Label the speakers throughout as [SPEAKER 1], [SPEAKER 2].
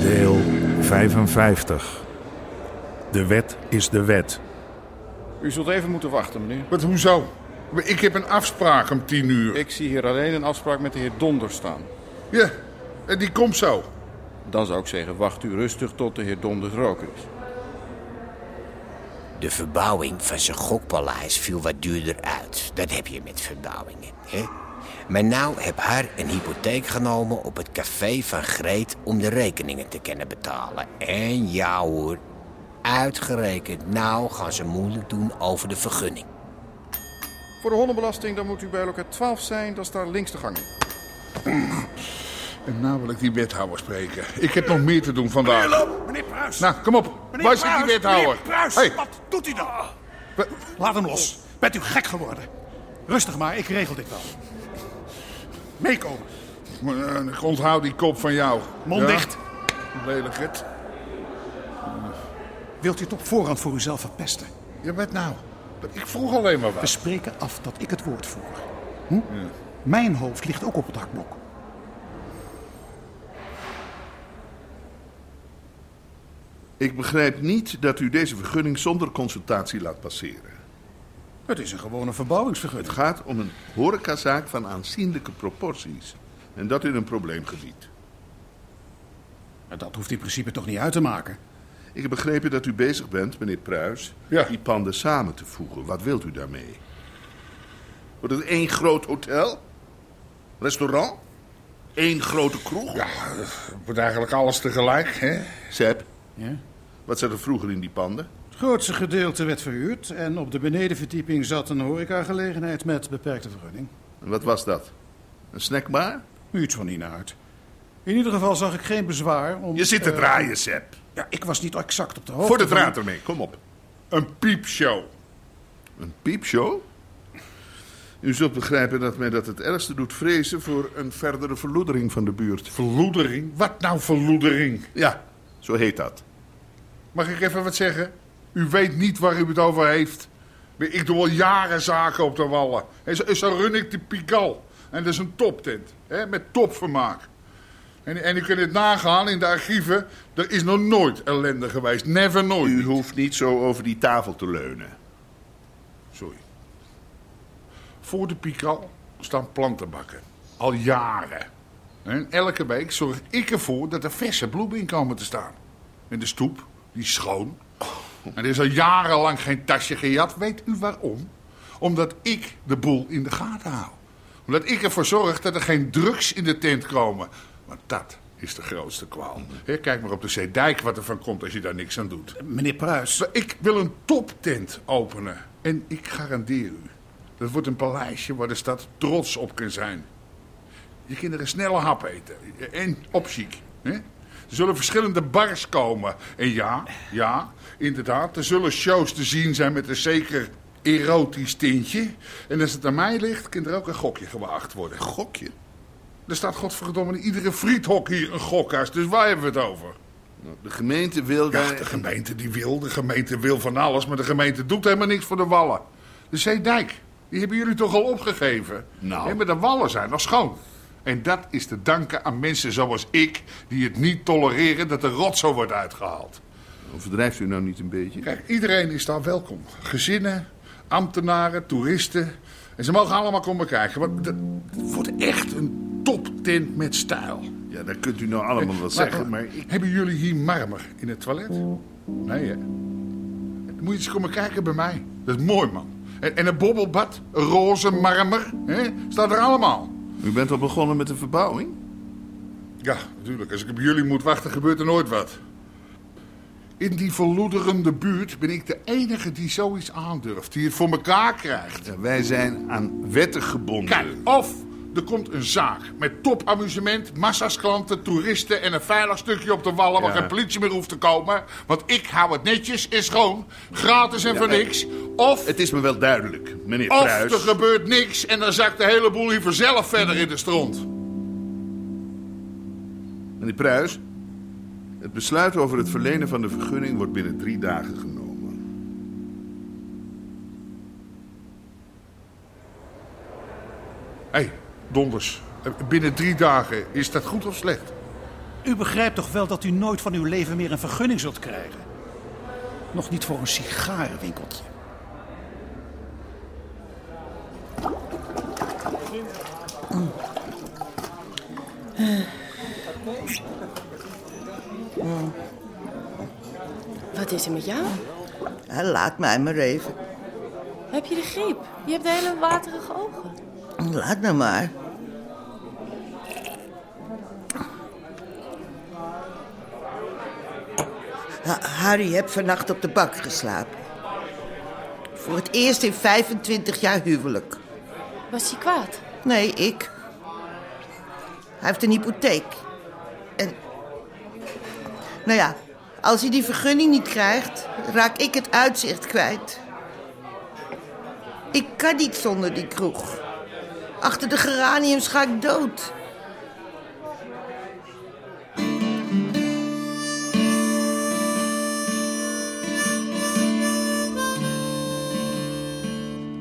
[SPEAKER 1] Deel 55. De wet is de wet.
[SPEAKER 2] U zult even moeten wachten, meneer.
[SPEAKER 3] Wat, hoezo? Ik heb een afspraak om tien uur.
[SPEAKER 2] Ik zie hier alleen een afspraak met de heer Donder staan.
[SPEAKER 3] Ja, en die komt zo.
[SPEAKER 2] Dan zou ik zeggen, wacht u rustig tot de heer Donder roken is.
[SPEAKER 4] De verbouwing van zijn gokpaleis viel wat duurder uit. Dat heb je met verbouwingen, hè? Maar nou heb haar een hypotheek genomen op het café van Greet om de rekeningen te kunnen betalen. En ja hoor, uitgerekend, nou gaan ze moeilijk doen over de vergunning.
[SPEAKER 2] Voor de hondenbelasting dan moet u bij loket 12 zijn, dat is daar links de gang in.
[SPEAKER 3] En nou wil ik die wethouder spreken. Ik heb nog meer te doen vandaag.
[SPEAKER 5] Meneer Pruis.
[SPEAKER 3] Nou, kom op.
[SPEAKER 5] meneer
[SPEAKER 3] Waar zit die
[SPEAKER 5] Pruis,
[SPEAKER 3] wethouder?
[SPEAKER 5] Meneer Pruis,
[SPEAKER 3] Hey,
[SPEAKER 5] wat doet u dan?
[SPEAKER 3] wa-
[SPEAKER 5] Laat hem los. Bent u gek geworden? Rustig maar, ik regel dit wel. Meekomen.
[SPEAKER 3] eh, ik onthoud die kop van jou.
[SPEAKER 5] Mond
[SPEAKER 3] Ja?
[SPEAKER 5] dicht.
[SPEAKER 3] Lelijk het.
[SPEAKER 5] Wilt u het op voorhand voor uzelf verpesten?
[SPEAKER 3] Ja, wat nou? Ik vroeg alleen maar
[SPEAKER 5] We
[SPEAKER 3] wat.
[SPEAKER 5] spreken af dat ik het woord voer. Hm? Mijn hoofd ligt ook op het hakblok.
[SPEAKER 6] Ik begrijp niet dat u deze vergunning zonder consultatie laat passeren.
[SPEAKER 5] Het is een gewone verbouwingsvergunning.
[SPEAKER 6] Het gaat om een horecazaak van aanzienlijke proporties. En dat in een probleemgebied.
[SPEAKER 5] Maar Dat hoeft in principe toch niet uit te maken.
[SPEAKER 6] Ik heb begrepen dat u bezig bent, meneer Pruis,
[SPEAKER 3] Ja.
[SPEAKER 6] die panden samen te voegen. Wat wilt u daarmee? Wordt het één groot hotel? Restaurant? Eén grote kroeg?
[SPEAKER 3] Ja, het wordt eigenlijk alles tegelijk, hè?
[SPEAKER 6] Seb,
[SPEAKER 5] Ja?
[SPEAKER 6] wat zat er vroeger in die panden?
[SPEAKER 5] Het grootste gedeelte werd verhuurd en op de benedenverdieping zat een horecagelegenheid met beperkte vergunning.
[SPEAKER 6] En wat was dat? Een snackbar?
[SPEAKER 5] Iets van uit. In ieder geval zag ik geen bezwaar om...
[SPEAKER 6] Je zit te
[SPEAKER 5] eh,
[SPEAKER 6] draaien, Seb.
[SPEAKER 5] Ja, ik was niet exact op de hoogte.
[SPEAKER 6] Voor de
[SPEAKER 5] van-
[SPEAKER 6] draad ermee, kom op.
[SPEAKER 3] Een piepshow.
[SPEAKER 6] Een piepshow? U zult begrijpen dat mij dat het ergste doet vrezen voor een verdere verloedering van de buurt.
[SPEAKER 3] Verloedering? Wat nou verloedering?
[SPEAKER 6] Ja, zo heet dat.
[SPEAKER 3] Mag ik even wat zeggen? U weet niet waar u het over heeft. Ik doe al jaren zaken op de wallen. En zo, zo run ik de Pigal. En dat is een toptent. Hè, met topvermaak. En, en u kunt het nagaan in de archieven. Er is nog nooit ellende geweest. Never nooit.
[SPEAKER 6] U hoeft niet zo over die tafel te leunen.
[SPEAKER 3] Sorry. Voor de Pikal staan plantenbakken. Al jaren. En elke week zorg ik ervoor dat er verse bloemen in komen te staan. En de stoep, die is schoon. En er is al jarenlang geen tasje gejat. Weet u waarom? Omdat ik de boel in de gaten hou. Omdat ik ervoor zorg dat er geen drugs in de tent komen. Want dat is de grootste kwaal. Hè, kijk maar op de Zeedijk wat er van komt als je daar niks aan doet.
[SPEAKER 5] Meneer Pruis,
[SPEAKER 3] Maar Ik wil een toptent openen. En ik garandeer u, dat wordt een paleisje waar de stad trots op kan zijn. Je kinderen snelle hap eten. En opchiek. Hè? Er zullen verschillende bars komen. En ja, ja, inderdaad, er zullen shows te zien zijn met een zeker erotisch tintje. En als het aan mij ligt, kan er ook een gokje gewaagd worden.
[SPEAKER 6] Gokje?
[SPEAKER 3] Er staat godverdomme in iedere friethok hier een gokhuis, dus waar hebben we het over?
[SPEAKER 6] Nou, De gemeente wil
[SPEAKER 3] Ja,
[SPEAKER 6] daar...
[SPEAKER 3] de gemeente die wil, de gemeente wil van alles, maar de gemeente doet helemaal niks voor de wallen. De Zeedijk, die hebben jullie toch al opgegeven?
[SPEAKER 6] Nou.
[SPEAKER 3] Nee, maar de wallen zijn nog schoon. En dat is te danken aan mensen zoals ik, die het niet tolereren dat de rotzooi wordt uitgehaald.
[SPEAKER 6] Overdrijft u nou niet een beetje?
[SPEAKER 3] Kijk, iedereen is daar welkom. Gezinnen, ambtenaren, toeristen. En ze mogen allemaal komen kijken, want het wordt echt een toptent met stijl.
[SPEAKER 6] Ja, daar kunt u nou allemaal wat
[SPEAKER 3] Maar,
[SPEAKER 6] zeggen, maar ik...
[SPEAKER 3] Hebben jullie hier marmer in het toilet? Nee, hè? Dan moet je eens komen kijken bij mij. Dat is mooi, man. En, en een bobbelbad, roze marmer, hè? staat er allemaal.
[SPEAKER 6] U bent al begonnen met de verbouwing?
[SPEAKER 3] Ja, natuurlijk. Als ik op jullie moet wachten, gebeurt er nooit wat. In die verloederende buurt ben ik de enige die zoiets aandurft. Die het voor elkaar krijgt.
[SPEAKER 6] Ja, Wij zijn aan wetten gebonden.
[SPEAKER 3] Kijk, of er komt een zaak met topamusement, massa's klanten, toeristen en een veilig stukje op de wallen waar
[SPEAKER 6] Ja.
[SPEAKER 3] geen politie meer hoeft te komen. Want ik hou het netjes en schoon, gratis en voor niks. Of,
[SPEAKER 6] Het is me wel duidelijk, meneer
[SPEAKER 3] of
[SPEAKER 6] Pruis.
[SPEAKER 3] er gebeurt niks en dan zakt de hele boel hier vanzelf verder in de stront.
[SPEAKER 6] Meneer Pruis, het besluit over het verlenen van de vergunning wordt binnen drie dagen genomen.
[SPEAKER 3] Hé, donders. Eh, Binnen drie dagen, is dat goed of slecht?
[SPEAKER 5] U begrijpt toch wel dat u nooit van uw leven meer een vergunning zult krijgen? Nog niet voor een sigarenwinkeltje.
[SPEAKER 7] Wat is er met jou?
[SPEAKER 8] Ja, Laat mij maar even.
[SPEAKER 7] Heb je de griep? Je hebt hele waterige ogen.
[SPEAKER 8] Laat nou maar. Ha- Harry heb vannacht op de bank geslapen. Voor het eerst in 25 jaar huwelijk.
[SPEAKER 7] Was hij kwaad?
[SPEAKER 8] Nee, ik. Hij heeft een hypotheek. En. Nou ja, als hij die vergunning niet krijgt, raak ik het uitzicht kwijt. Ik kan niet zonder die kroeg. Achter de geraniums ga ik dood.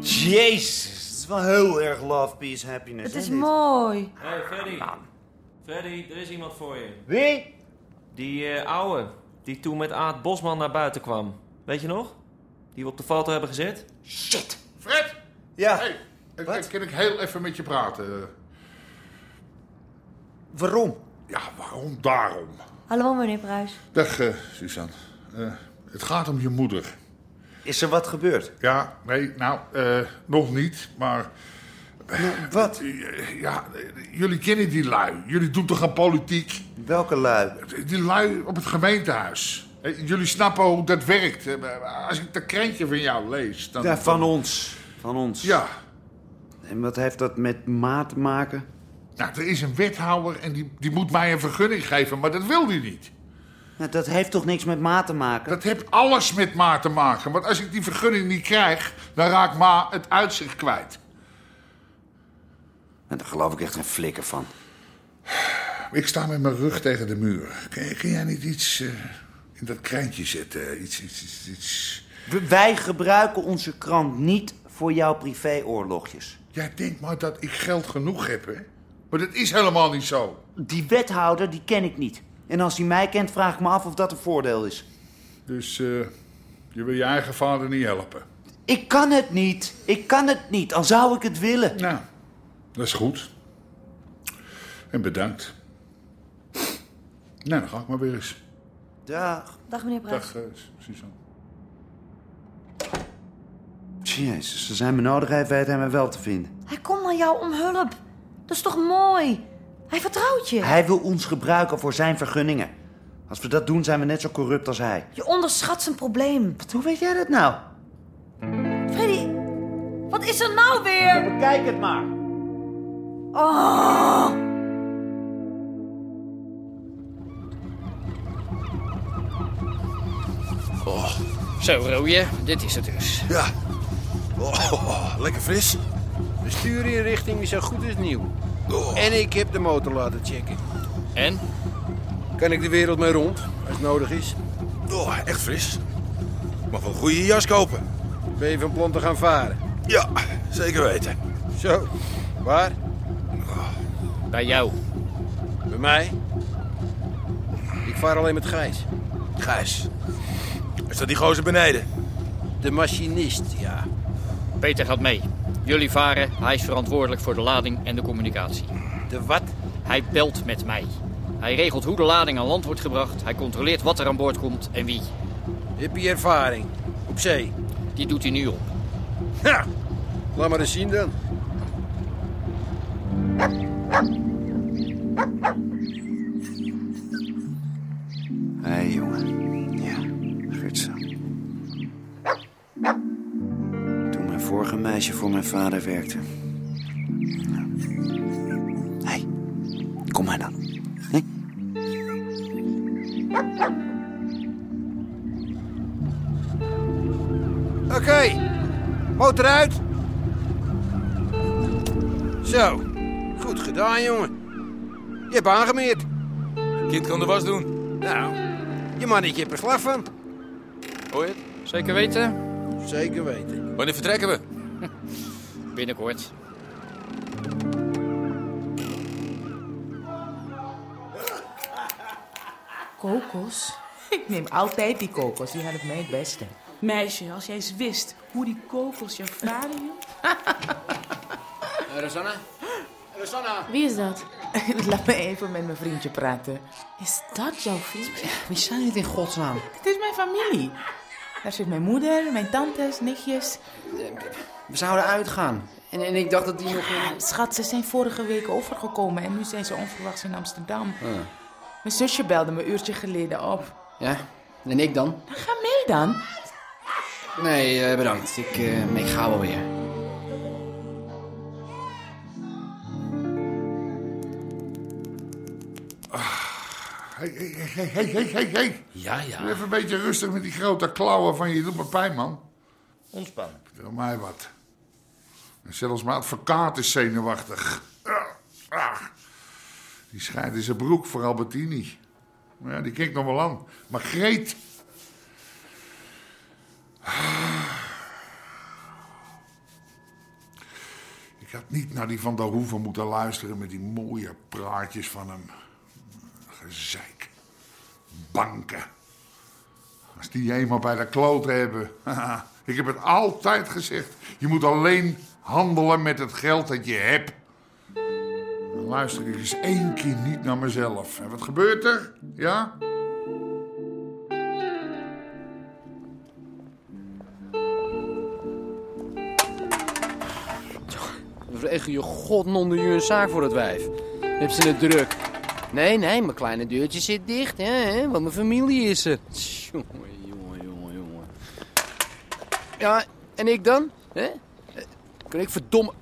[SPEAKER 9] Jezus, het is wel heel erg love, peace, happiness.
[SPEAKER 7] Het
[SPEAKER 9] hè,
[SPEAKER 7] is
[SPEAKER 9] dit?
[SPEAKER 7] mooi.
[SPEAKER 10] Hey Freddy. Freddy, er is iemand voor je.
[SPEAKER 9] Wie?
[SPEAKER 10] Die eh, ouwe, die toen met Aad Bosman naar buiten kwam. Weet je nog? Die we op de foto hebben gezet.
[SPEAKER 9] Shit.
[SPEAKER 3] Fred!
[SPEAKER 9] Ja,
[SPEAKER 3] Hé, hey,
[SPEAKER 9] Wat?
[SPEAKER 3] kan ik heel even met je praten?
[SPEAKER 9] waarom?
[SPEAKER 3] Ja, waarom daarom?
[SPEAKER 11] Hallo meneer Pruis.
[SPEAKER 3] Dag, eh, Suzanne. Eh, het gaat om je moeder.
[SPEAKER 9] Is er wat gebeurd?
[SPEAKER 3] Ja, nee, nou, eh, nog niet, maar...
[SPEAKER 9] Wat?
[SPEAKER 3] eh, Ja, eh, jullie kennen die lui. Jullie doen toch aan politiek?
[SPEAKER 9] Welke lui?
[SPEAKER 3] Die lui op het gemeentehuis. Eh, Jullie snappen hoe dat werkt. Eh, Als ik dat krentje van jou lees, dan...
[SPEAKER 9] Ja, van ons. Van ons.
[SPEAKER 3] Ja.
[SPEAKER 9] En wat heeft dat met Ma te maken?
[SPEAKER 3] Nou, er is een wethouder en die, die moet mij een vergunning geven, maar dat wil hij niet.
[SPEAKER 9] Nou, dat heeft toch niks met Ma te maken?
[SPEAKER 3] Dat heeft alles met Ma te maken. Want als ik die vergunning niet krijg, dan raakt Ma het uitzicht kwijt.
[SPEAKER 9] Nou, daar geloof ik echt een flikker van.
[SPEAKER 3] Ik sta met mijn rug tegen de muur. Kun, kun jij niet iets eh, in dat krantje zetten? Iets, iets, iets, iets.
[SPEAKER 9] W- Wij gebruiken onze krant niet voor jouw privéoorlogjes.
[SPEAKER 3] Jij denkt maar dat ik geld genoeg heb, hè? Maar dat is helemaal niet zo.
[SPEAKER 9] Die wethouder, die ken ik niet. En als hij mij kent, vraag ik me af of dat een voordeel is.
[SPEAKER 3] Dus eh, je wil je eigen vader niet helpen?
[SPEAKER 9] Ik kan het niet. Ik kan het niet, al zou ik het willen.
[SPEAKER 3] Nou, dat is goed. En bedankt. Nou, dan ga ik maar weer eens.
[SPEAKER 9] Dag.
[SPEAKER 11] Dag meneer Pruis.
[SPEAKER 3] Dag, eh, Suzanne.
[SPEAKER 9] Jezus, ze zijn me nodig heeft, weet hij me wel te vinden.
[SPEAKER 11] Hij komt naar jou om hulp. Dat is toch mooi? Hij vertrouwt je.
[SPEAKER 9] Hij wil ons gebruiken voor zijn vergunningen. Als we dat doen, zijn we net zo corrupt als hij.
[SPEAKER 11] Je onderschat zijn probleem.
[SPEAKER 9] Wat, hoe weet jij dat nou?
[SPEAKER 11] Freddy, wat is er nou weer?
[SPEAKER 9] Bekijk het maar.
[SPEAKER 11] Oh.
[SPEAKER 12] Zo, rooie, dit is het dus.
[SPEAKER 6] Ja. Oh, lekker fris.
[SPEAKER 12] De stuurinrichting is zo goed als nieuw.
[SPEAKER 6] Oh.
[SPEAKER 12] En ik heb de motor laten checken. En? Kan ik de wereld mee rond, als het nodig is?
[SPEAKER 6] Oh, echt fris. Mag wel een goede jas kopen.
[SPEAKER 12] Ben je van plan te gaan varen?
[SPEAKER 6] Ja, zeker weten.
[SPEAKER 12] Zo, waar? Bij jou. Bij mij? Ik vaar alleen met Gijs.
[SPEAKER 6] Gijs. Is dat die gozer beneden?
[SPEAKER 12] De machinist, ja. Peter gaat mee. Jullie varen. Hij is verantwoordelijk voor de lading en de communicatie. De wat? Hij belt met mij. Hij regelt hoe de lading aan land wordt gebracht. Hij controleert wat er aan boord komt en wie. Heb je ervaring? Op zee? Die doet hij nu op. Ha! Laat maar eens zien dan.
[SPEAKER 9] Hé, jongen. Ja.
[SPEAKER 12] meisje voor mijn vader werkte. Nou. Hey, kom maar dan. Hé?
[SPEAKER 13] Oké, motor uit. Zo, goed gedaan, jongen. Je hebt aangemeerd. Kind kan de was doen. Nou, je mannetje hebt er slag van.
[SPEAKER 14] Hoor je Zeker weten?
[SPEAKER 13] Zeker weten.
[SPEAKER 14] Wanneer vertrekken we? Binnenkort.
[SPEAKER 11] Kokos? Ik neem altijd die kokos, die helpt mij het beste.
[SPEAKER 15] Meisje, als jij eens wist hoe die kokos je vader hield.
[SPEAKER 12] Eh,
[SPEAKER 14] Rosanna? Rosanna?
[SPEAKER 15] Wie is dat?
[SPEAKER 11] Laat me even met mijn vriendje praten.
[SPEAKER 15] Is dat jouw vriend?
[SPEAKER 11] Wie zijn dit in godsnaam? Het is mijn familie. Daar zit mijn moeder, mijn tantes, nichtjes.
[SPEAKER 12] We zouden uitgaan. En, en ik dacht dat die nog...
[SPEAKER 11] Schat, ze zijn vorige week overgekomen en nu zijn ze onverwachts in Amsterdam.
[SPEAKER 12] Ah.
[SPEAKER 11] Mijn zusje belde me een uurtje geleden op.
[SPEAKER 12] Ja? En ik dan?
[SPEAKER 11] Ga mee dan.
[SPEAKER 12] Nee, eh, bedankt. Ik, eh, ik ga wel weer.
[SPEAKER 3] Hey, hey, hey, hey, hey, hey, hey.
[SPEAKER 14] Ja, ja.
[SPEAKER 3] Doe Even een beetje rustig met die grote klauwen van je. Je doet me pijn, man.
[SPEAKER 14] Ontspannen.
[SPEAKER 3] Vertel mij wat. En zelfs mijn advocaat is zenuwachtig. Ah, ah. Die schijnt in zijn broek voor Albertini. Maar ja, die kijkt nog wel aan. Maar Greet... Ah. Ik had niet naar die Van der Hoeven moeten luisteren met die mooie praatjes van hem. Gezeik. Banken. Als die je eenmaal bij de kloot hebben. ik heb het altijd gezegd. Je moet alleen handelen met het geld dat je hebt. Dan luister ik eens één keer niet naar mezelf. En wat gebeurt er? Ja?
[SPEAKER 12] We Regel je god onder je een zaak voor het wijf. Heb ze het druk. Nee, nee, mijn kleine deurtje zit dicht, hè, hè, want mijn familie is er. Jongen, jongen, jongen, jongen. Ja, en ik dan? Hè? Eh, Kan ik verdomme...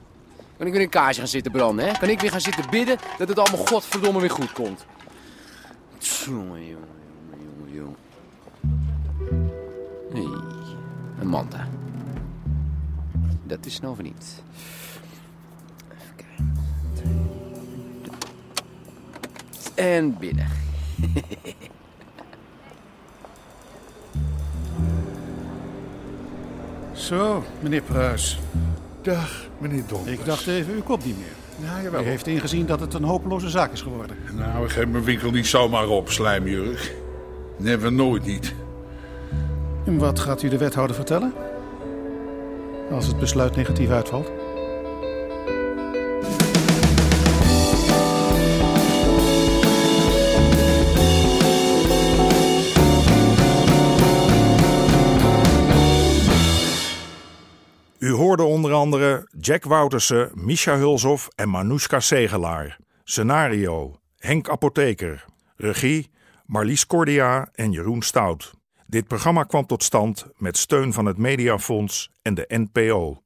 [SPEAKER 12] Kan ik weer een kaarsje gaan zitten branden, hè? Kan ik weer gaan zitten bidden dat het allemaal godverdomme weer goed komt? Jongen, jongen, jongen, jongen, jongen. Hey, een manta. Dat is nou van niet. En binnen.
[SPEAKER 5] Zo, meneer Pruis.
[SPEAKER 3] Dag, meneer Donkers.
[SPEAKER 5] Ik dacht even, u komt niet meer.
[SPEAKER 3] Ja, jawel.
[SPEAKER 5] U heeft ingezien dat het een hopeloze zaak is geworden.
[SPEAKER 3] Nou, ik geef mijn winkel niet zomaar op, slijmjurk. Never nooit niet.
[SPEAKER 5] En wat gaat u de wethouder vertellen? Als het besluit negatief uitvalt?
[SPEAKER 1] U hoorde onder andere Jack Woutersen, Misha Hulshoff en Manoushka Segelaar. Scenario: Henk Apotheker. Regie: Marlies Cordia en Jeroen Stout. Dit programma kwam tot stand met steun van het Mediafonds en de NPO.